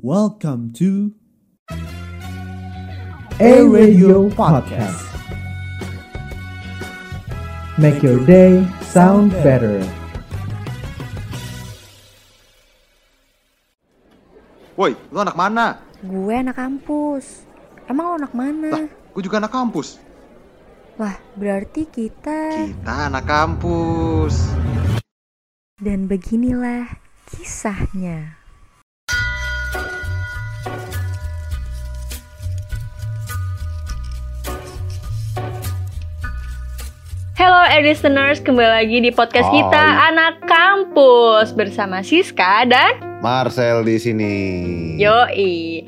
Welcome to A Radio Podcast. Make your day sound better. Woi, lu anak mana? Gue anak kampus. Emang lo anak mana? Lah, gue juga anak kampus. Wah, berarti kita... Kita anak kampus. Dan beginilah kisahnya. Hello air listeners, kembali lagi di podcast Hai. kita Anak Kampus bersama Siska dan Marcel di sini. Yoi.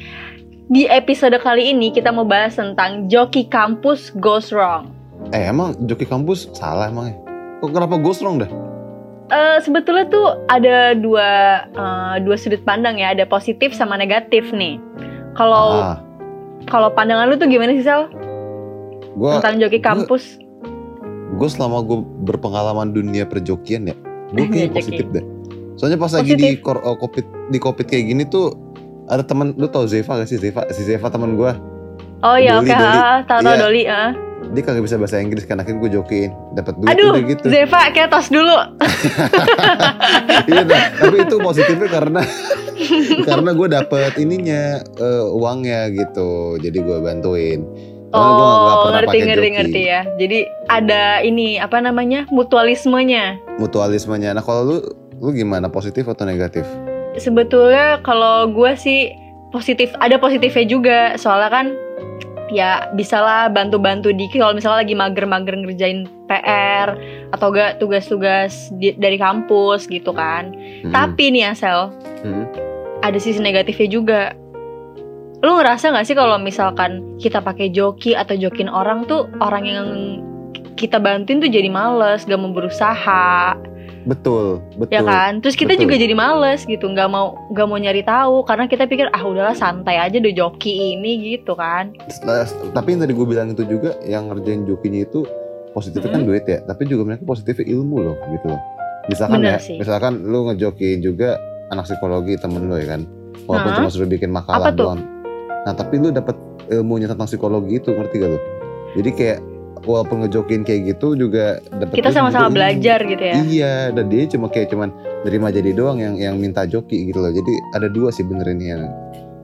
Di episode kali ini kita mau bahas tentang joki kampus goes wrong. Eh emang joki kampus salah emang ya? Kok kenapa ghost wrong dah? Eh, sebetulnya tuh ada dua eh, dua sudut pandang ya, ada positif sama negatif nih. Kalau Ah, kalau pandangan lu tuh gimana sih Oh, Sal gua tentang joki kampus? gua selama gua berpengalaman dunia perjokian ya, gua Joki. kayaknya positif deh. Soalnya pas lagi di Positif. kor- eh, covid di covid kayak gini tuh ada teman lu tau Zeva gak sih Zeva si Zeva teman gua Oh ya, Doli, oke, Doli. ah, tahu-tahu Iya. Doli, ah. dia kagak bisa bahasa Inggris kan akhirnya gua jokiin dapat duit Aduh, udah gitu Zeva kayak tos dulu. iya dah. tapi itu positifnya karena karena gue dapet ininya eh, uangnya gitu jadi gue bantuin Karena gua nggak Oh, pernah ngerti pakai ngerti joki. ngerti ya. Jadi ada ini apa namanya mutualismenya. mutualismenya nah kalau lu lu gimana positif atau negatif Sebetulnya kalau gue sih positif, ada positifnya juga. Soalnya kan ya bisalah bantu-bantu dikit kalau misalnya lagi mager-mager ngerjain PR atau gak tugas-tugas di- dari kampus gitu kan. Hmm, Tapi nih Asel, hmm. ada sisi negatifnya juga. Lu ngerasa nggak sih kalau misalkan kita pakai joki atau jokin orang tuh orang yang kita bantuin tuh jadi males, gak mau berusaha, betul betul ya kan? Terus kita betul. juga jadi males gitu, nggak mau nggak mau nyari tahu karena kita pikir ah udahlah santai aja deh joki ini gitu kan. Setelah- Nah, tapi yang tadi gue bilang itu juga yang ngerjain jokinya itu positifnya Hmm. kan duit ya tapi juga mereka positifnya ilmu loh gitu loh misalkan ya Bener sih. misalkan lu ngejokiin juga anak psikologi temen lu ya kan walaupun Hah? cuma suruh bikin makalah Apa tuh? doang nah tapi lu dapat ilmunya tentang psikologi itu ngerti gak lu jadi kayak walaupun ngejokiin kayak gitu juga dapat Kita sama-sama belajar gitu ya. iya dan dia cuma kayak cuman nerima jadi doang yang yang minta joki gitu loh jadi ada dua sih benernya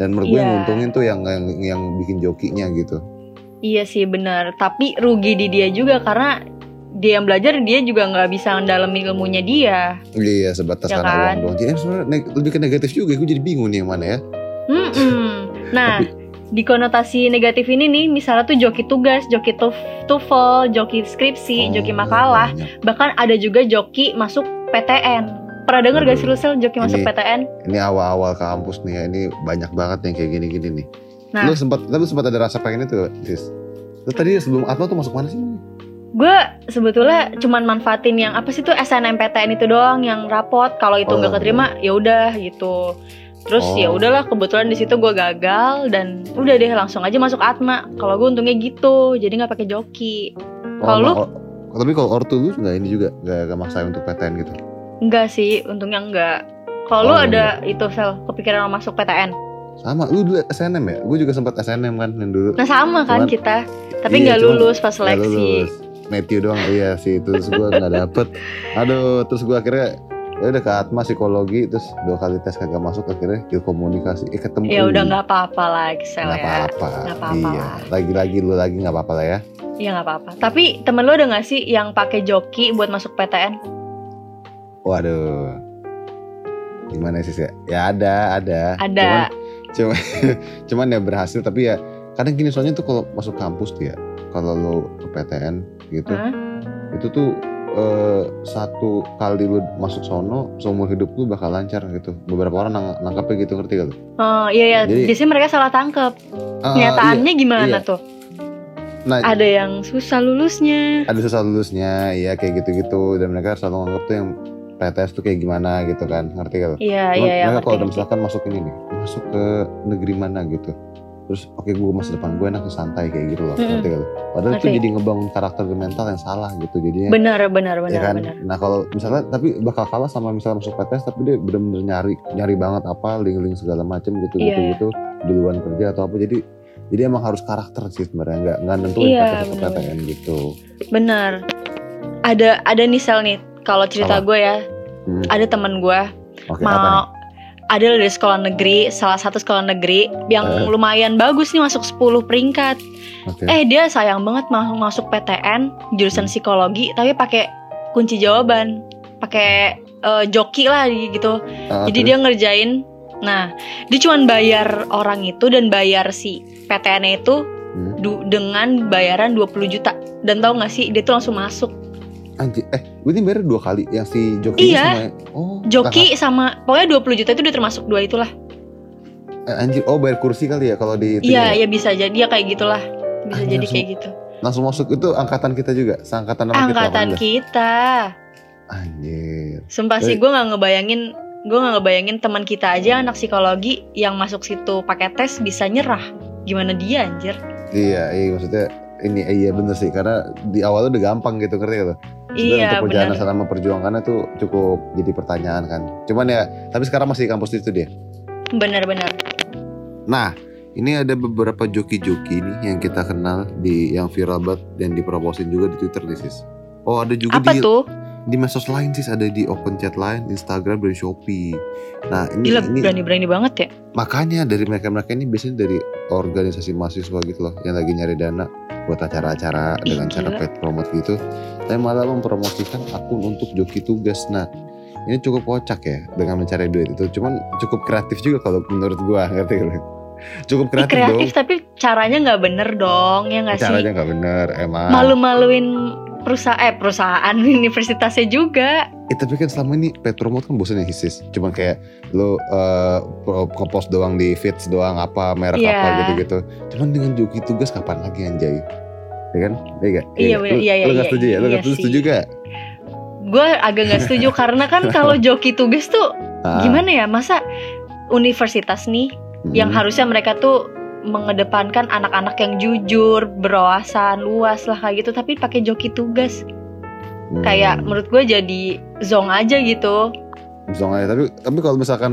dan menurut gue yang Iya. nguntungin tuh yang, yang yang bikin jokinya gitu Iya sih benar, tapi rugi di dia juga karena dia yang belajar dia juga nggak bisa mendalami ilmunya dia. Iya sebatas Ya karena kan? uang doang. Jadi sebenarnya neg- lebih ke negatif juga. Gue jadi bingung nih yang mana ya. Mm-mm. Nah, di konotasi negatif ini nih, misalnya tuh joki tugas, joki tuf, tufel, joki skripsi, joki Oh, makalah, banyak. bahkan ada juga joki masuk PTN. Pernah denger gak sih lu, Sel, joki masuk Ini- PTN? Ini awal-awal kampus nih ya. Ini banyak banget yang kayak gini-gini nih. Nah. Lu sempat, lu sempat ada rasa pengen itu, Sis. Lu tadi sebelum apa tuh masuk mana sih? Gue sebetulnya cuman manfaatin yang apa sih tuh SNMPTN itu doang yang rapot. Kalau itu nggak Oh. keterima, ya udah gitu. Terus Oh. ya udahlah kebetulan di situ gue gagal dan udah deh langsung aja masuk Atma. Kalau gue untungnya gitu, jadi nggak pakai joki. Kalau lu? ma- oh, tapi kalau ortu lu nggak ini juga nggak nggak maksain untuk PTN gitu. Enggak sih, untungnya enggak. Kalau lu Oh, ada itu sel kepikiran mau masuk PTN. Sama, lu dulu SNM ya? Gue juga sempat SNM kan yang dulu. Nah sama kan Cuman- kita, tapi Iya, nggak cuman lulus pas Nggak seleksi. lulus. Matthew doang iya sih terus gue nggak dapet aduh terus gue akhirnya ya udah ke Atma psikologi terus dua kali tes kagak masuk akhirnya ke komunikasi eh ketemu Ya udah UI. nggak apa-apa lah Excel nggak ya. apa-apa Nggak apa-apa iya lah. lagi-lagi lu lagi nggak apa-apa lah ya Iya nggak apa-apa. Tapi temen lu ada nggak sih yang pakai joki buat masuk PTN? waduh gimana sih ya ya ada ada cuman Ada. cuman, cuman ya berhasil tapi ya kadang gini soalnya tuh kalau masuk kampus tuh ya kalau lu ke PTN gitu Hah? itu tuh eh, satu kali lu masuk sono seumur hidup lu bakal lancar gitu beberapa orang nang- nangkapnya gitu ngerti gak lu? Oh iya ya, Jadi- biasanya mereka salah tangkep. Ah, Nyataannya gimana iya. tuh? iya. nah ada, Ada yang susah lulusnya. susah lulusnya ya kayak gitu-gitu dan mereka selalu nganggap tuh yang PTS tuh kayak gimana gitu kan ngerti gak lu? Iya Cuman iya iya. mereka ngerti, kalau udah ngerti. misalkan masuk ini nih masuk ke negeri mana gitu terus oke gue masa depan gue enak santai kayak gitu loh Mm-mm. ngerti gak lo? padahal itu Ngerti. jadi ngebangun karakter mental yang salah gitu jadinya benar benar benar ya kan benar nah kalau misalnya tapi bakal kalah sama misalnya masuk PTS tapi dia bener-bener nyari nyari banget apa link-link segala macem gitu Iya, gitu gitu duluan kerja atau apa jadi jadi emang harus karakter sih sebenarnya nggak nggak nentuin PTS Iya, atau bener-bener. PTN gitu benar ada ada nih sel nih kalau cerita Apa? gue ya Hmm, ada temen gue oke apa nih mau ada dari sekolah negeri salah satu sekolah negeri yang Eh. Ya. lumayan bagus nih masuk 10 peringkat oke eh dia sayang banget mau masuk PTN Hmm. jurusan psikologi tapi pakai kunci jawaban pakai eh, joki lah gitu Ah, jadi terus? dia ngerjain nah dia cuman bayar orang itu dan bayar si PTN itu Hmm. du- dengan bayaran 20 juta dan tau gak sih dia tuh langsung masuk Anjir, eh gue ini bayar dua kali yang si joki Iya. sama oh joki sama pokoknya 20 juta itu udah termasuk dua itulah kakak. Eh, anjir oh bayar kursi kali ya kalau di itu iya ya? ya bisa jadi ya kayak gitulah Ah, bisa jadi langsung kayak gitu langsung masuk itu angkatan kita juga seangkatan sama angkatan kita 18. kita anjir Sumpah sih Jadi- gue nggak ngebayangin gue nggak ngebayangin teman kita aja anak psikologi yang masuk situ pakai tes bisa nyerah gimana dia anjir iya iya maksudnya ini eh, iya bener sih karena di awal udah gampang gitu ngerti gak lo? Sebenarnya iya untuk perjalanan benar sana memperjuangkannya tuh cukup jadi pertanyaan kan. Cuman ya, tapi sekarang masih di kampus itu dia. benar benar Nah, ini ada beberapa joki-joki nih yang kita kenal di yang viral banget dan dipromosin juga di Twitter nih sis. Oh ada juga apa di tuh di medsos lain sis ada di open chat lain, Instagram dan Shopee. Nah ini gila ini berani berani banget ya makanya dari mereka-mereka ini biasanya dari organisasi mahasiswa gitu loh yang lagi nyari dana buat acara-acara Ih, dengan cara gila. paid promote gitu tapi malah mempromosikan akun untuk joki tugas nah ini cukup kocak ya dengan mencari duit itu cuman cukup kreatif juga kalau menurut gua ngerti gak lu? cukup Ih, kreatif, kreatif tapi caranya nggak bener dong ya dong nggak sih caranya nggak bener emang malu-maluin perusahaan eh perusahaan universitasnya juga Eh, tapi kan selama ini paid promote kan bosan ya sis cuman kayak lo eh, pro- ke post doang di feeds doang apa merek Iya. apa gitu-gitu cuman dengan joki tugas kapan lagi anjay ya kan iya gak? Iya, gak? bener. Lu- Iya, iya, lu gak iya, setuju ya lu iya gak setuju, sih. setuju gak? gue agak nggak setuju karena kan kalau joki tugas tuh Ah, gimana ya masa universitas nih mm, yang harusnya mereka tuh mengedepankan anak-anak yang jujur, berwawasan, luas lah kayak gitu tapi pakai joki tugas. mm. Kayak menurut gue jadi zong aja gitu. Misalnya, ya? tapi tapi kalau misalkan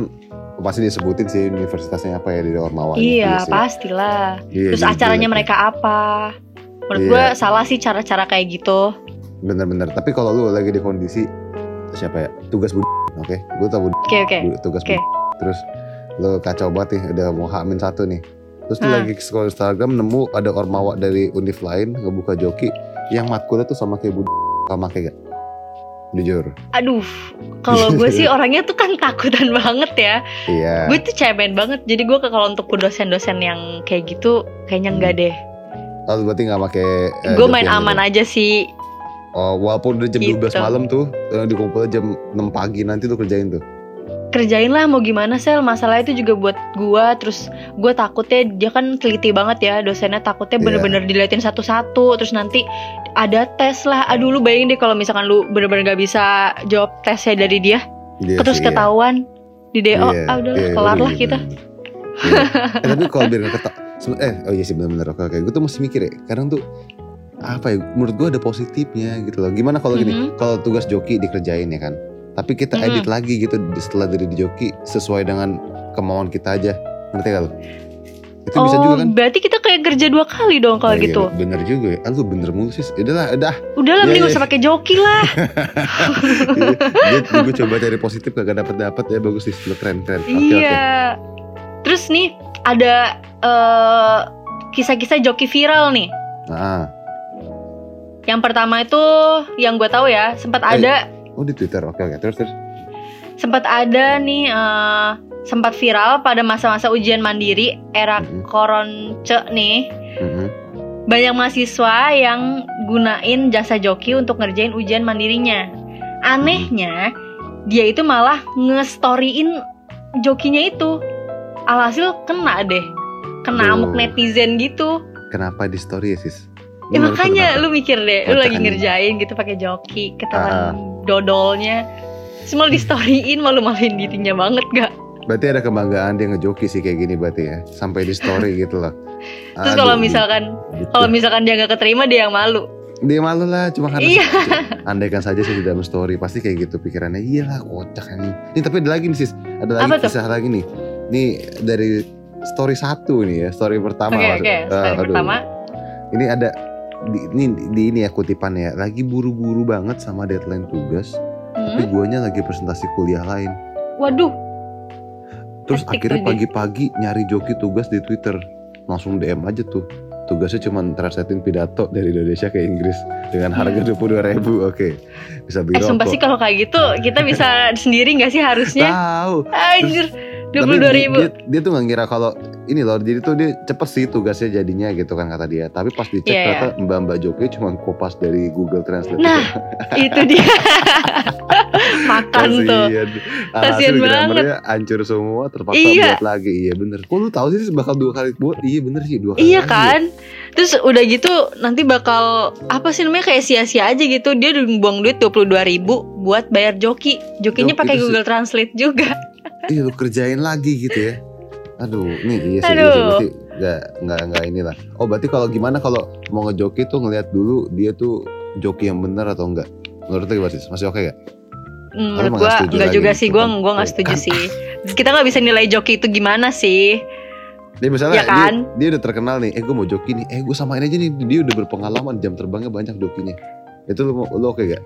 pasti disebutin sih universitasnya apa ya di Ormawa iya, sih. ya. pastilah. Iya, Terus jadi acaranya jelek. mereka apa? Menurut Iya. gue salah sih cara-cara kayak gitu. bener-bener tapi kalau lu lagi di kondisi siapa ya tugas budi oke gue tau budi Oke, oke. Bu- tugas Oke. bu- terus lo kacau banget nih udah mau hamin satu nih terus tuh Ah. lagi scroll Instagram nemu ada ormawa dari univ lain ngebuka joki yang matkulnya tuh sama kayak bud sama kayak gak jujur Aduh, kalau gue sih orangnya tuh kan takutan banget ya. iya Gue tuh cemen banget. Jadi gue ke- kalau untuk ke dosen-dosen yang kayak gitu kayaknya enggak Hmm. deh. Eh, lalu Oh, berarti nggak pakai eh, gue joki main yang aman itu. aja sih. oh, walaupun udah jam Gitu. 12 malam tuh eh, dikumpulnya jam 6 pagi nanti tuh kerjain tuh kerjain lah mau gimana sel masalah itu juga buat gua terus gua takutnya dia kan teliti banget ya dosennya takutnya Iya. bener-bener diliatin satu-satu terus nanti ada tes lah aduh lu bayangin deh kalau misalkan lu bener-bener gak bisa jawab tesnya dari dia Iya terus sih, iya. ketahuan di DO Iya, ah udahlah iya, kelar udah lah gitu, kita bener-bener. Iya. Eh, tapi kalau biar nggak ketok sebe- eh oh iya sih benar-benar oke oke gue tuh masih mikir ya kadang tuh apa ya menurut gue ada positifnya gitu loh gimana kalau gini Mhm. kalau tugas joki dikerjain ya kan tapi kita Mhm. edit lagi gitu di- setelah dari di joki sesuai dengan kemauan kita aja ngerti gak lo itu bisa oh juga kan berarti kita kayak kerja dua kali dong kalau Oh, iya, gitu bener juga ya ah, lu bener mulu sih udahlah udah udahlah Iya, mending iya. usah pakai joki lah gue coba cari positif kagak dapet dapet ya bagus sih lu keren keren oke oke iya terus nih ada eh, kisah-kisah joki viral nih nah Yang pertama itu yang gue tahu ya sempat Eh. ada oh di twitter oke oke terus terus sempat ada nih eh, sempat viral pada masa-masa ujian mandiri era Mhm. koronce nih Mhm. banyak mahasiswa yang gunain jasa joki untuk ngerjain ujian mandirinya. Anehnya dia itu malah ngestoryin jokinya itu. Alhasil kena deh. Kena amuk Aduh. netizen gitu. kenapa di story ya sis? Ya Menurut lu makanya kenapa? lu mikir deh, lu Kocak lagi anjing. ngerjain gitu pakai joki, ketahuan Ah. dodolnya. Semua di storyin malu-maluin dirinya banget gak? Berarti ada kebanggaan dia ngejoki sih kayak gini berarti ya. Sampai di story gitu loh. Terus Aduh, kalau misalkan gitu. kalau misalkan dia nggak keterima dia yang malu. dia malu lah cuma karena Iya. andaikan saja saya di dalam story pasti kayak gitu pikirannya iyalah kocak ini ini tapi ada lagi nih sis ada lagi Apa tuh? kisah lagi nih ini dari story satu nih ya story pertama Oke oke. maksud- Ah, Story aduh. pertama. ini ada di, ini di ini ya kutipannya lagi buru-buru banget sama deadline tugas tapi Hmm. guanya lagi presentasi kuliah lain Waduh. terus Hektik akhirnya tuh dia. pagi-pagi nyari joki tugas di Twitter langsung DM aja tuh tugasnya cuma translatein pidato dari Indonesia ke Inggris dengan harga dua ribu oke bisa beli Hmm. Eh sumpah rokok. sih kalau kayak gitu kita bisa sendiri nggak sih harusnya? Tahu. Anjir. Tapi Dua puluh dua dia- ribu. Dia, dia tuh nggak ngira kalau ini loh, jadi tuh dia cepet sih tugasnya jadinya gitu kan kata dia. Tapi pas dicek Iya, iya. ternyata mbak-mbak Jokowi cuma kopas dari Google Translate. Nah, itu dia. Makan tuh. Kasian. Kasian Alhasil banget. Ah, grammarnya hancur semua, terpaksa Iya. buat lagi. Iya bener. Kok lu tahu sih bakal dua kali buat? Iya bener sih dua kali. Iya lagi. kan? Terus udah gitu nanti bakal apa sih namanya kayak sia-sia aja gitu. Dia udah buang duit 22.000 ribu buat bayar joki. Jokinya Joki pakai itu sih. Google Translate juga. Iya lu kerjain lagi gitu ya. Aduh, nih iya sih, Aduh. iya sih, berarti nggak nggak nggak inilah. Oh berarti kalau gimana kalau mau ngejoki tuh ngelihat dulu dia tuh joki yang bener atau enggak? Menurut lu gimana sih? Masih oke nggak? Hmm, Lu menurut nggak gua setuju enggak lagi juga gitu sih gua kan? gua enggak Tuh setuju kan. sih. Kita nggak bisa nilai joki itu gimana sih? Dia misalnya Iya kan? dia, dia udah terkenal nih, eh gue mau joki nih, eh gue samain aja nih, dia udah berpengalaman jam terbangnya banyak jokinya. Itu lu, mau- lu oke gak?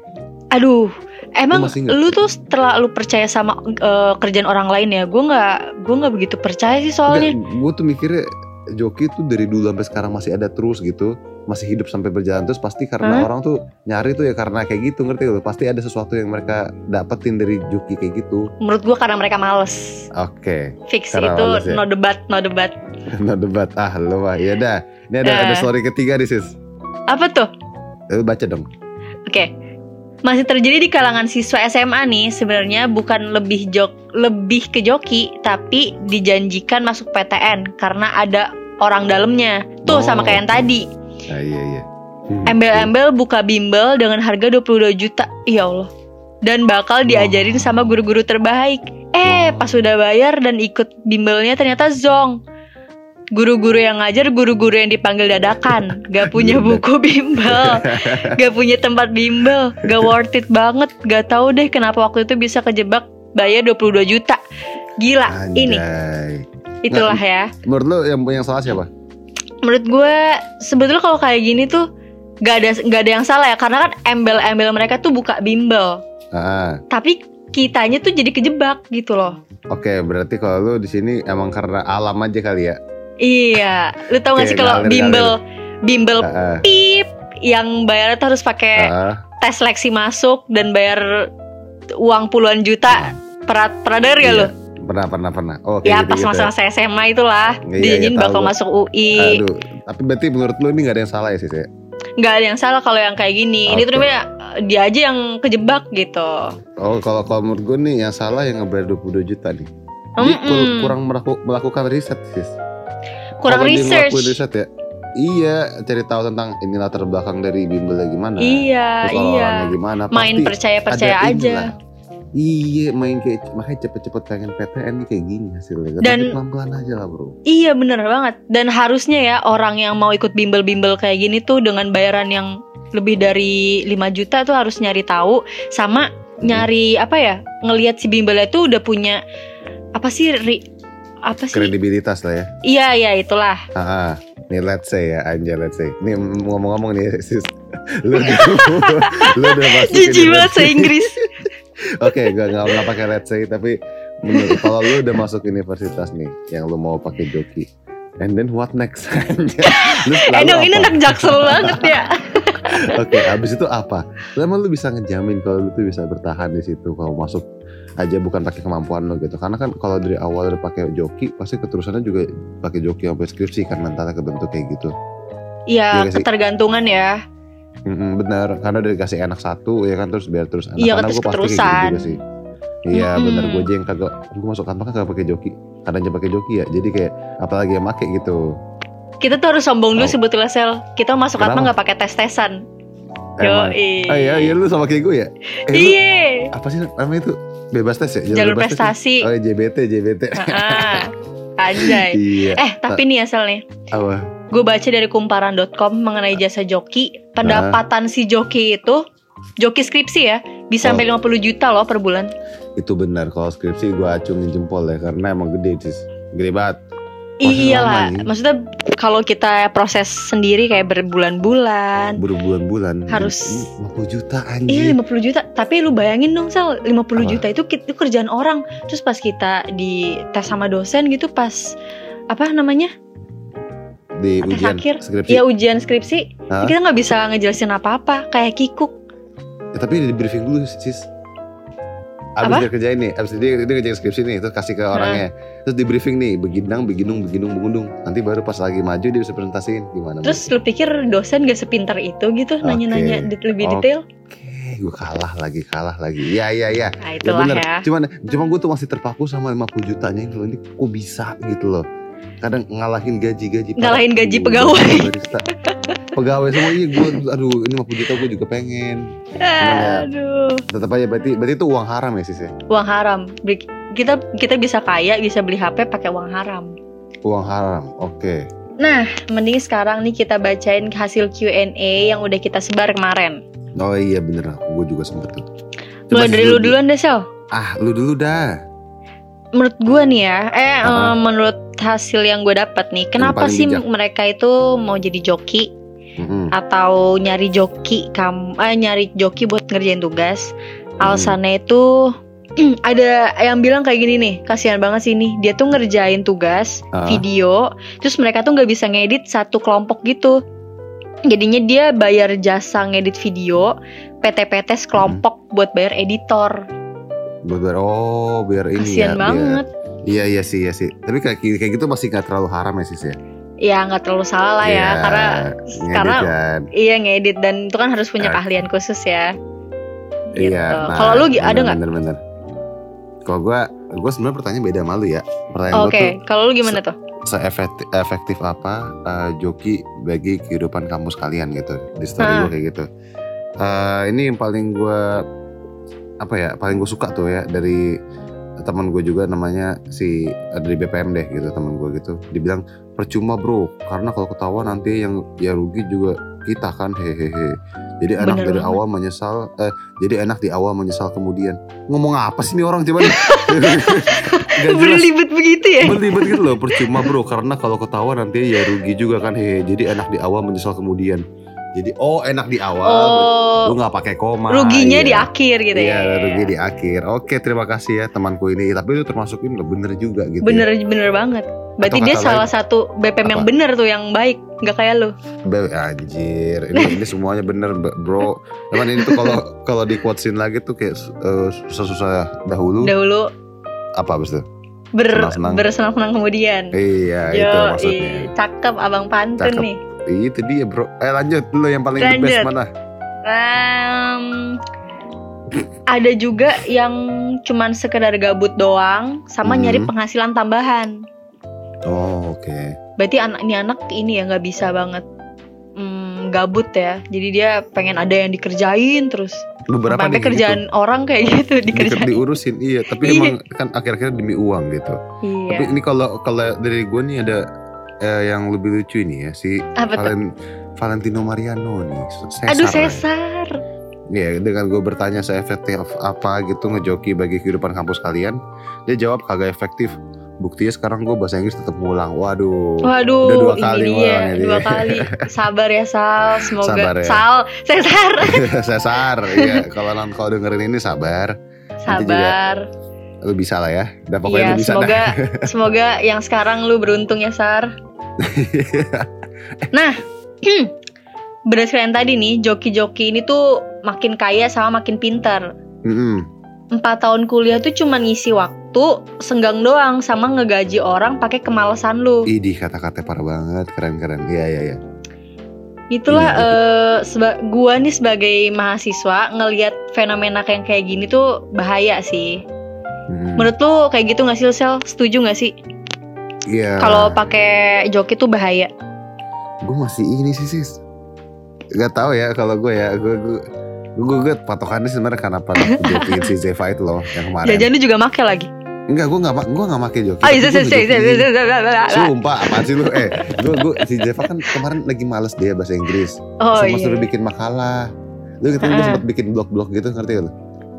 Aduh, emang masih nggak? lu tuh terlalu percaya sama eh, kerjaan orang lain ya? Gua nggak gua nggak begitu percaya sih soalnya. gue tuh mikirnya joki tuh dari dulu sampai sekarang masih ada terus gitu, masih hidup sampai berjalan terus pasti karena orang tuh nyari tuh ya karena kayak gitu ngerti lu? Pasti ada sesuatu yang mereka dapetin dari joki kayak gitu. Menurut gua karena mereka males. Oke, Fix Karena itu males ya? no debat, no debat. no debat. Ah lu mah, ya dah. Ini ada, ada Eh. story ketiga nih sis. Apa tuh? Lu baca dong. Oke. Masih terjadi di kalangan siswa SMA nih, sebenarnya bukan lebih jok lebih ke joki, tapi dijanjikan masuk PTN karena ada orang dalamnya. Tuh Oh. sama kayak yang tadi. Ah, iya iya. Embel-embel buka bimbel dengan harga 22 juta. Ya Allah. Dan bakal diajarin sama guru-guru terbaik. Eh, pas udah bayar dan ikut bimbelnya ternyata zong. Guru-guru yang ngajar, guru-guru yang dipanggil dadakan. Gak punya buku bimbel. Gak punya tempat bimbel. Gak worth it banget. Gak tahu deh kenapa waktu itu bisa kejebak bayar 22 juta. Gila, ini Anjay. itulah ya. Menurut lu yang yang salah siapa? menurut gue sebetulnya kalau kayak gini tuh gak ada gak ada yang salah ya karena kan embel-embel mereka tuh buka bimbel Ah, tapi kitanya tuh jadi kejebak gitu loh oke berarti kalau lu di sini emang karena alam aja kali ya. iya lu tau Oke, Nah. gak sih kalau ngalir, bimbel bimbel Heeh. pip yang bayarnya tuh harus pakai Heeh. tes seleksi masuk dan bayar uang puluhan Nah. juta per pernah denger gak lu? Pernah pernah pernah. Oh, ya kayak pas gitu-gitu. masa-masa SMA itulah Iya, dijanjin iya, tahu bakal gua. masuk UI Aduh, tapi berarti menurut lu ini gak ada yang salah ya sis ya? nggak ada yang salah kalau yang kayak gini ini Oke. tuh namanya eh, dia aja yang kejebak gitu Oh, kalau kalau menurut gue nih yang salah yang ngebayar 22 juta nih. Ini Mm-mm. kur- kurang melaku- melakukan riset sis. Kalau kurang dia research. ngelakuin riset ya. Iya, cari tahu tentang ini latar belakang dari bimbelnya gimana. Iya, Nah, terus iya. orang-orangnya gimana. Main pasti percaya-percaya ada aja. inilah. Iya, main kayak makanya cepet-cepet pengen PTN nih kayak gini hasilnya. Tapi Dan- pelan-pelan aja lah bro. Iya, bener banget. Dan harusnya ya orang yang mau ikut bimbel-bimbel kayak gini tuh dengan bayaran yang lebih dari 5 juta tuh harus nyari tahu sama Hmm. nyari apa ya? Ngelihat si bimbelnya tuh udah punya apa sih ri- apa sih? Kredibilitas lah ya. Iya, iya itulah. Ah, nih let's say ya, anjay let's say. Nih ngomong-ngomong nih sis, lu, lu udah masukin Jijik banget universitas. saya Inggris. Oke, gak nggak nggak pakai let's say, tapi menurut kalau lu udah masuk universitas nih, yang lu mau pakai joki, and then what next? Anjay, lu Eh, lalu dong, ini apa? anak jaksel banget ya. Oke, abis itu apa? Lama lu bisa ngejamin kalau lu tuh bisa bertahan di situ kalau masuk aja bukan pakai kemampuan lu gitu. Karena kan kalau dari awal udah pakai joki, pasti keterusannya juga pakai joki sampai skripsi kan mentalnya kebentuk kayak gitu. Iya Iya, nggak sih? ketergantungan ya. Mm-mm, benar, karena udah dikasih anak satu ya kan terus biar terus anak Iya, karena terus gua pasti kayak gitu keterusan. juga sih. Iya Mm-mm. benar gue aja yang kagak gue masuk kantor kan kagak pakai joki karena aja pakai joki ya jadi kayak apalagi yang make gitu Kita tuh harus sombong dulu Tahu. sebetulnya sel. Kita masuk apa Kenapa? nggak pakai tes-tesan. Emang. Yoi. Ah iya, iya lu sama kayak gue ya? Eh, lu Iya. apa sih namanya itu? Bebas tes ya? Jalur bebas tes ya? prestasi. Oh, iya, JBT, JBT. Ah, Anjay. iya. Eh, tapi nih asal nih. Apa? Gue baca dari kumparan.com mengenai jasa joki, Ah. pendapatan si joki itu joki skripsi ya, bisa sampai Oh. 50 juta loh per bulan. Itu benar kalau skripsi gue acungin jempol ya karena emang gede sih. Gede banget. Prosesnya Iyalah, lama, ya. maksudnya kalau kita proses sendiri kayak berbulan-bulan. Berbulan-bulan. Harus- 50 juta anjir. Iya 50 juta, tapi lu bayangin dong Sel, 50 Apa? juta itu, ki- itu kerjaan orang. Terus pas kita di tes sama dosen gitu pas apa namanya? di Tes ujian akhir. skripsi. Ya ujian skripsi, Iya. Hah? kita nggak bisa ngejelasin apa-apa, kayak kikuk. Ya, tapi di briefing dulu sis. Abis Apa? dia kerjain nih, abis dia, dia kerjain skripsi nih, terus kasih ke orangnya. Terus di briefing nih, beginang, beginung, beginung, begundung. Nanti baru pas lagi maju dia bisa presentasiin gimana. Terus lu pikir dosen gak sepintar itu gitu Oke. Oh. nanya-nanya det- lebih Oke. detail? Oke, gue kalah lagi, kalah lagi. Ya, ya, ya. Nah, Ya itulah bener, ya. cuman, cuman gue tuh masih terpaku sama 50 jutanya ini loh, ini kok bisa gitu loh. Kadang ngalahin gaji-gaji. para Ngalahin gaji guru, pegawai. barista. pegawai semua, iya gue, aduh ini 50 juta gue juga pengen. ya. Aduh, Tetap aja, berarti berarti itu uang haram ya sis ya? uang haram. Beli- Kita kita bisa kaya, bisa beli HP pakai uang haram. Uang haram, oke. Nah, mending sekarang nih kita bacain hasil Q&A yang udah kita sebar kemarin. Oh iya bener, gue juga sempet tuh. Coba Mulai dari lu duluan deh, Sel. Ah, lu dulu dah. Menurut gua nih ya, eh Ah. eh, menurut hasil yang gue dapat nih, kenapa paling sih bijak. mereka itu mau jadi joki Mm-mm. atau nyari joki kamu eh, nyari joki buat ngerjain tugas? Hmm. Alasannya itu ada yang bilang kayak gini nih, kasihan banget sih nih, dia tuh ngerjain tugas Ah. video, terus mereka tuh nggak bisa ngedit satu kelompok gitu. Jadinya dia bayar jasa ngedit video, PT-PT sekelompok Hmm. buat bayar editor. Buat biar- oh biar ini ya. Kasihan biar- banget. Iya iya sih iya sih. Tapi kayak kayak gitu masih nggak terlalu haram ya sis ya. Ya nggak terlalu salah lah ya, Iya, karena ngedit Ah. karena kan. iya ngedit dan itu kan harus punya keahlian khusus ya. Gitu. Iya. Kalau lu gi- ada nggak? Bener bener. Kalau gue gue sebenarnya pertanyaan beda malu ya. Pertanyaan Oke, gue tuh kalau lu gimana tuh? seefektif efektif apa eh, joki bagi kehidupan kampus kalian gitu di story Ah. gue kayak gitu Eh, ini yang paling gue apa ya paling gue suka tuh ya dari teman gue juga namanya si eh, dari BPM deh gitu teman gue gitu dibilang percuma bro karena kalau ketahuan nanti yang ya rugi juga kita kan hehehe jadi enak Bener dari banget. awal menyesal eh jadi enak di awal menyesal kemudian ngomong apa sih nih orang coba nih? Nggak jelas Berlibet begitu ya? berlibat gitu loh percuma bro karena kalau ketawa nanti ya rugi juga kan hehe jadi enak di awal menyesal kemudian jadi oh enak di awal Oh, lu nggak pakai koma ruginya iya. di akhir gitu Iya, ya. rugi di akhir oke terima kasih ya temanku ini tapi lu termasuk ini loh, bener juga gitu Bener bener banget. Berarti Atau dia kata salah satu BPM yang Apa? bener tuh yang baik, nggak kayak lu. ya. Be- anjir ini, ini semuanya bener bro Cuman ini tuh kalau kalau di quotesin lagi tuh kayak eh, susah-susah dahulu Dahulu apa abis itu ber Senang-senang. bersenang-senang kemudian. iya Yo, itu i, maksudnya cakep abang pantun Cakep. nih. itu dia bro eh lanjut lu yang paling the best Lanjut. mana Em, ada juga yang cuman sekedar gabut doang, sama Hmm. nyari penghasilan tambahan. oh oke Berarti anak ini anak ini ya nggak bisa banget mm, gabut ya. Jadi dia pengen ada yang dikerjain terus. beberapa nih kayak Sampai gitu. kerjaan orang kayak gitu Diker- dikerjain. diurusin iya tapi Iya. emang kan akhir-akhir demi uang gitu tapi Iya. ini kalau kalau dari gue nih ada eh, yang lebih lucu ini ya si Apa tuh? Valen, Valentino Mariano nih Cesar. Aduh sesar. Iya, dengan gue bertanya seefektif apa gitu ngejoki bagi kehidupan kampus kalian dia jawab kagak efektif buktinya sekarang gue bahasa Inggris tetap ngulang waduh Waduh, Udah dua ini kali dia, ngulangnya dia. dua kali. Sabar ya Sal, semoga Sabar ya. Sal, Cesar, Cesar iya kalau kalau dengerin ini sabar sabar. lu bisa lah ya dan pokoknya Iya, lu bisa dah. semoga semoga yang sekarang lu beruntung ya Sar. nah, berdasarkan yang tadi nih, joki-joki ini tuh makin kaya sama makin pintar. Mm-mm. Empat tahun kuliah tuh cuma ngisi waktu, senggang doang sama ngegaji orang pakai kemalasan lu. Idih kata-kata parah banget keren-keren iya iya iya Itulah Iya, eh seba- gua nih sebagai mahasiswa ngelihat fenomena yang kayak gini tuh bahaya sih. Mm. Menurut lu kayak gitu nggak sih Sel? Setuju nggak sih Iya. kalau pakai joki tuh bahaya? gue masih ini sih sis. nggak tahu ya kalau gue ya gue gue gue, gue patokannya sebenarnya karena pada aku jokiin si Zeva itu loh yang kemarin Jajan lu juga make lagi. enggak gue nggak ma- gue nggak pakai joki Oh, tapi iya, gue iya, iya, iya, ngejokiin. iya, iya, iya, iya, iya. Sumpah apaan sih lu Eh gue, gue Si Jeva kan kemarin lagi males dia bahasa Inggris Oh Sama iya. suruh bikin makalah Lu gitu gue Heeh. sempet bikin blog-blog gitu ngerti gak lu?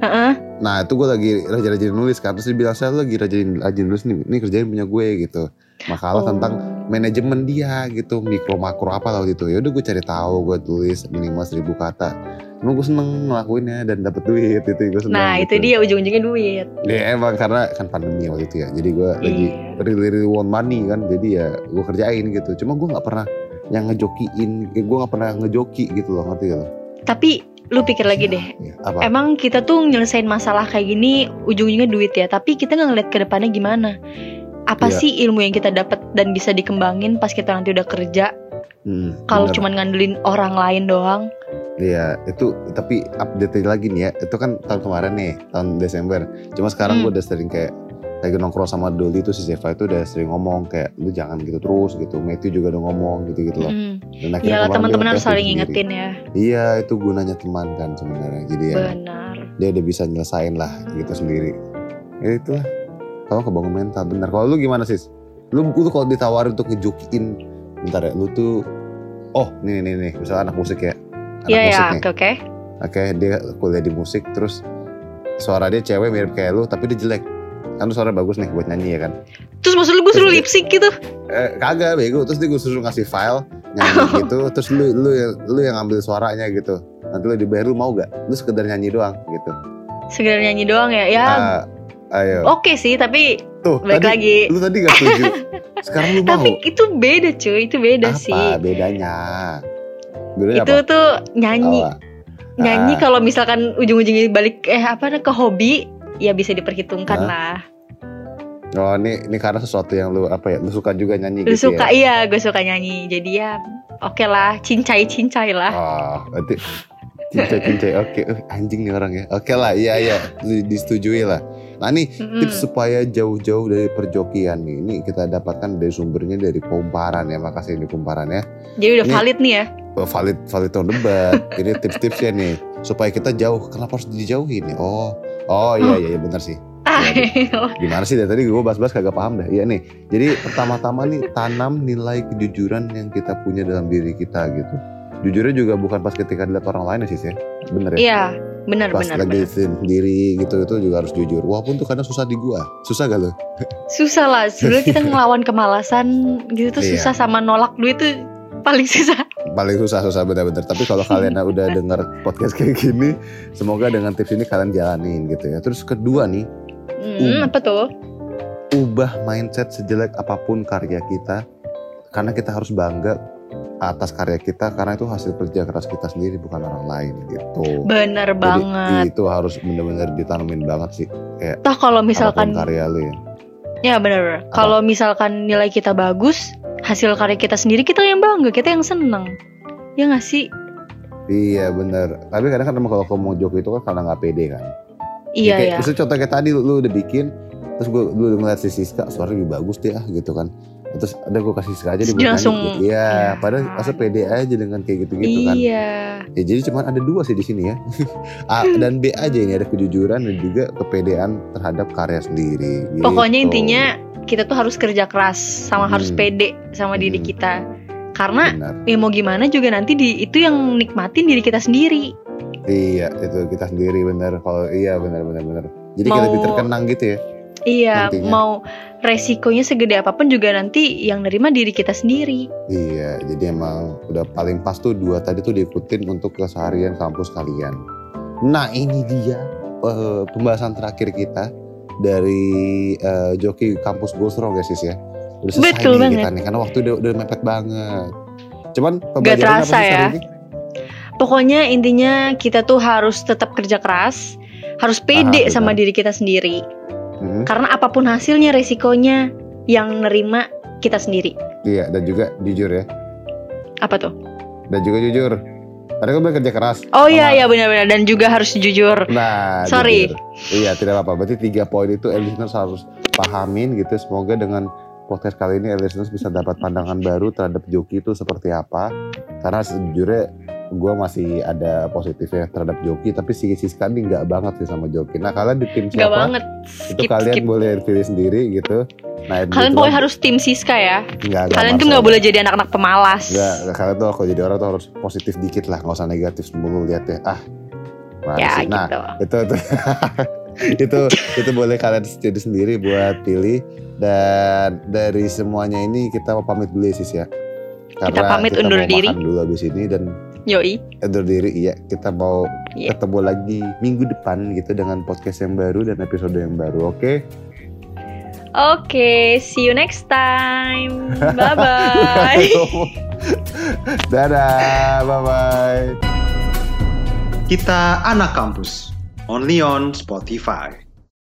Heeh. Nah itu gue lagi rajin-rajin nulis kan Terus dia bilang saya lagi rajin-rajin nulis nih Ini kerjain punya gue gitu Makalah Oh. tentang manajemen dia gitu Mikro makro apa lah waktu itu Yaudah gue cari tahu Gue tulis minimal seribu kata Emang gue seneng ngelakuinnya dan dapet duit itu gue seneng Nah, gitu. itu dia ujung-ujungnya duit. Ya emang karena kan pandemi waktu itu ya Jadi gue lagi Iya. really really want money kan jadi ya gue kerjain gitu cuma gue nggak pernah yang ngejokiin gue nggak pernah ngejoki gitu loh ngerti gak lo Tapi lu pikir lagi deh, Ya, apa emang kita tuh nyelesain masalah kayak gini ujung-ujungnya duit ya, tapi kita nggak ngeliat ke depannya gimana. Apa Iya. sih ilmu yang kita dapat dan bisa dikembangin pas kita nanti udah kerja Hmm, kalau bener. cuman ngandelin orang lain doang? Iya itu tapi update lagi nih ya itu kan tahun kemarin nih tahun Desember cuma sekarang Hmm. gue udah sering kayak lagi nongkrong sama Doli itu si Zeva itu udah sering ngomong kayak lu jangan gitu terus gitu Matthew juga udah ngomong gitu gitu loh Mm. dan Ya kemarin dia teman-teman harus ngetes saling diri sendiri. ingetin ya. iya itu gunanya teman kan sebenarnya jadi ya Benar. dia udah bisa nyelesain lah gitu sendiri ya itulah kalau kebangun mental bener kalau lu gimana sis lu lu kalau ditawarin untuk ngejokiin bentar ya lu tuh oh nih nih nih misalnya anak musik ya anak Iya ya, musik nih oke oke. oke dia kuliah di musik terus suara dia cewek mirip kayak lu tapi dia jelek kan lu suara bagus nih buat nyanyi ya kan Terus maksud lu gue Terus suruh dia- lipsik gitu? eh, kagak bego terus dia gue suruh ngasih file nyanyi gitu terus lu lu yang lu yang ambil suaranya gitu nanti lu dibayar lu mau gak lu sekedar nyanyi doang gitu Sekedar nyanyi doang ya. Ya Ah, ayo oke sih, tapi tuh Oh, tadi balik lagi. lu tadi gak setuju sekarang lu mau Tapi itu beda cuy, itu beda apa sih. bedanya bedanya Itu apa tuh nyanyi, Apa? nyanyi Ah. kalau misalkan ujung-ujungnya balik eh apa ke hobi ya bisa Ah, diperhitungkan lah. oh ini ini karena sesuatu yang lu apa ya lu suka juga nyanyi Lu gitu ya suka iya, gue suka nyanyi. Jadi ya oke lah, cincai-cincai lah. oh berarti cincai cincai oke Eh, anjing nih orang ya oke lah iya iya Lu disetujui lah nah ini Mm-mm. tips supaya jauh-jauh dari perjokian nih ini kita dapatkan dari sumbernya dari kumparan ya makasih ini kumparan ya Jadi udah Ini- valid nih ya. valid valid tahun debat. Ini tips-tipsnya nih supaya kita jauh. Kenapa harus dijauhin ya? Oh, oh Hmm. iya iya iya, benar sih. Gimana sih dari tadi gue bahas-bahas kagak paham dah. Iya nih. Jadi pertama-tama nih tanam nilai kejujuran yang kita punya dalam diri kita gitu. Jujurnya juga bukan pas ketika dilihat orang lain ya sih ya. Bener ya? Iya, benar pas benar. lagi benar. sendiri gitu itu juga harus jujur. Walaupun tuh kadang susah di gua. Susah gak lo? Susah lah, sebenarnya kita ngelawan kemalasan gitu tuh Iya. susah sama nolak duit tuh paling susah. paling susah susah bener-bener tapi kalau kalian udah dengar podcast kayak gini semoga dengan tips ini kalian jalanin gitu ya terus kedua nih Hmm, Hmm. apa tuh? ubah mindset sejelek apapun karya kita karena kita harus bangga atas karya kita karena itu hasil kerja keras kita sendiri bukan orang lain gitu Bener banget. Jadi iya. itu harus bener-bener ditanemin banget sih Toh kalau misalkan apapun karya lu ya ya bener. Kalau misalkan nilai kita bagus, hasil karya kita sendiri kita yang bangga, kita yang seneng. Ya nggak sih? iya bener tapi kadang kan emang kalau kamu joki itu kan karena nggak pede kan Iya kayak, ya. Misalnya contoh kayak tadi lu, lu udah bikin terus gue lu udah ngeliat si Siska suaranya lebih bagus dia ah, gitu kan terus ada gue kasih Siska aja dia Terus dia buat langsung, nyanyi gitu. iya ya padahal kan. masa pede aja dengan kayak gitu-gitu kan Iya. ya jadi cuman ada dua sih di sini ya A dan B aja ini ada kejujuran dan juga kepedean terhadap karya sendiri gitu. Pokoknya intinya kita tuh harus kerja keras sama harus Hmm. pede sama diri Hmm. kita. Karena Benar. ya mau gimana juga nanti di itu yang nikmatin diri kita sendiri. iya itu kita sendiri benar kalau iya benar benar benar jadi Mau- kita lebih terkenang gitu ya Iya, Nantinya. mau resikonya segede apapun juga nanti yang nerima diri kita sendiri. iya jadi emang udah paling pas tuh dua tadi tuh diikutin untuk keseharian kampus kalian nah ini dia eh, pembahasan terakhir kita dari eh, joki kampus Gosro guys ya udah selesai Betul nih banget. kita nih karena waktu udah, udah mepet banget cuman pembelajaran apa terasa sih hari ya. ini? Pokoknya intinya kita tuh harus tetap kerja keras, harus Aha, pede sama benar. diri kita sendiri. Mhm. Karena apapun hasilnya resikonya yang nerima kita sendiri. Iya, dan juga jujur ya. Apa tuh? Dan juga jujur. Tadi kan bilang kerja keras. Oh iya Sama- iya benar-benar dan juga harus jujur. Nah, Sorry. jujur. Iya, tidak apa-apa. Berarti tiga poin itu eh, listeners harus pahamin gitu. Semoga dengan podcast kali ini eh, listeners bisa dapat pandangan baru terhadap joki itu seperti apa. Karena sejujurnya gue masih ada positifnya terhadap joki tapi si Siska nih nggak banget sih sama joki nah kalian di tim Gak siapa banget. itu Skip, kalian skip. boleh pilih sendiri gitu nah itu Kalian pokoknya harus tim Siska ya. nggak nggak Kalian tuh maksa. nggak boleh jadi anak-anak pemalas. Nggak, nggak, kalian tuh kalau jadi orang tuh harus positif dikit lah nggak usah negatif mulu lihatnya ah mana Ya sih? nah gitu. itu itu itu itu boleh kalian jadi sendiri buat pilih dan dari semuanya ini kita mau pamit dulu ya sis ya karena pamit undur mau diri. makan dulu habis ini dan Yoi. undur diri iya kita mau Iya. ketemu lagi minggu depan gitu dengan podcast yang baru dan episode yang baru oke Oke, see you next time. Bye bye. dadah bye bye Kita anak kampus. Only on Spotify.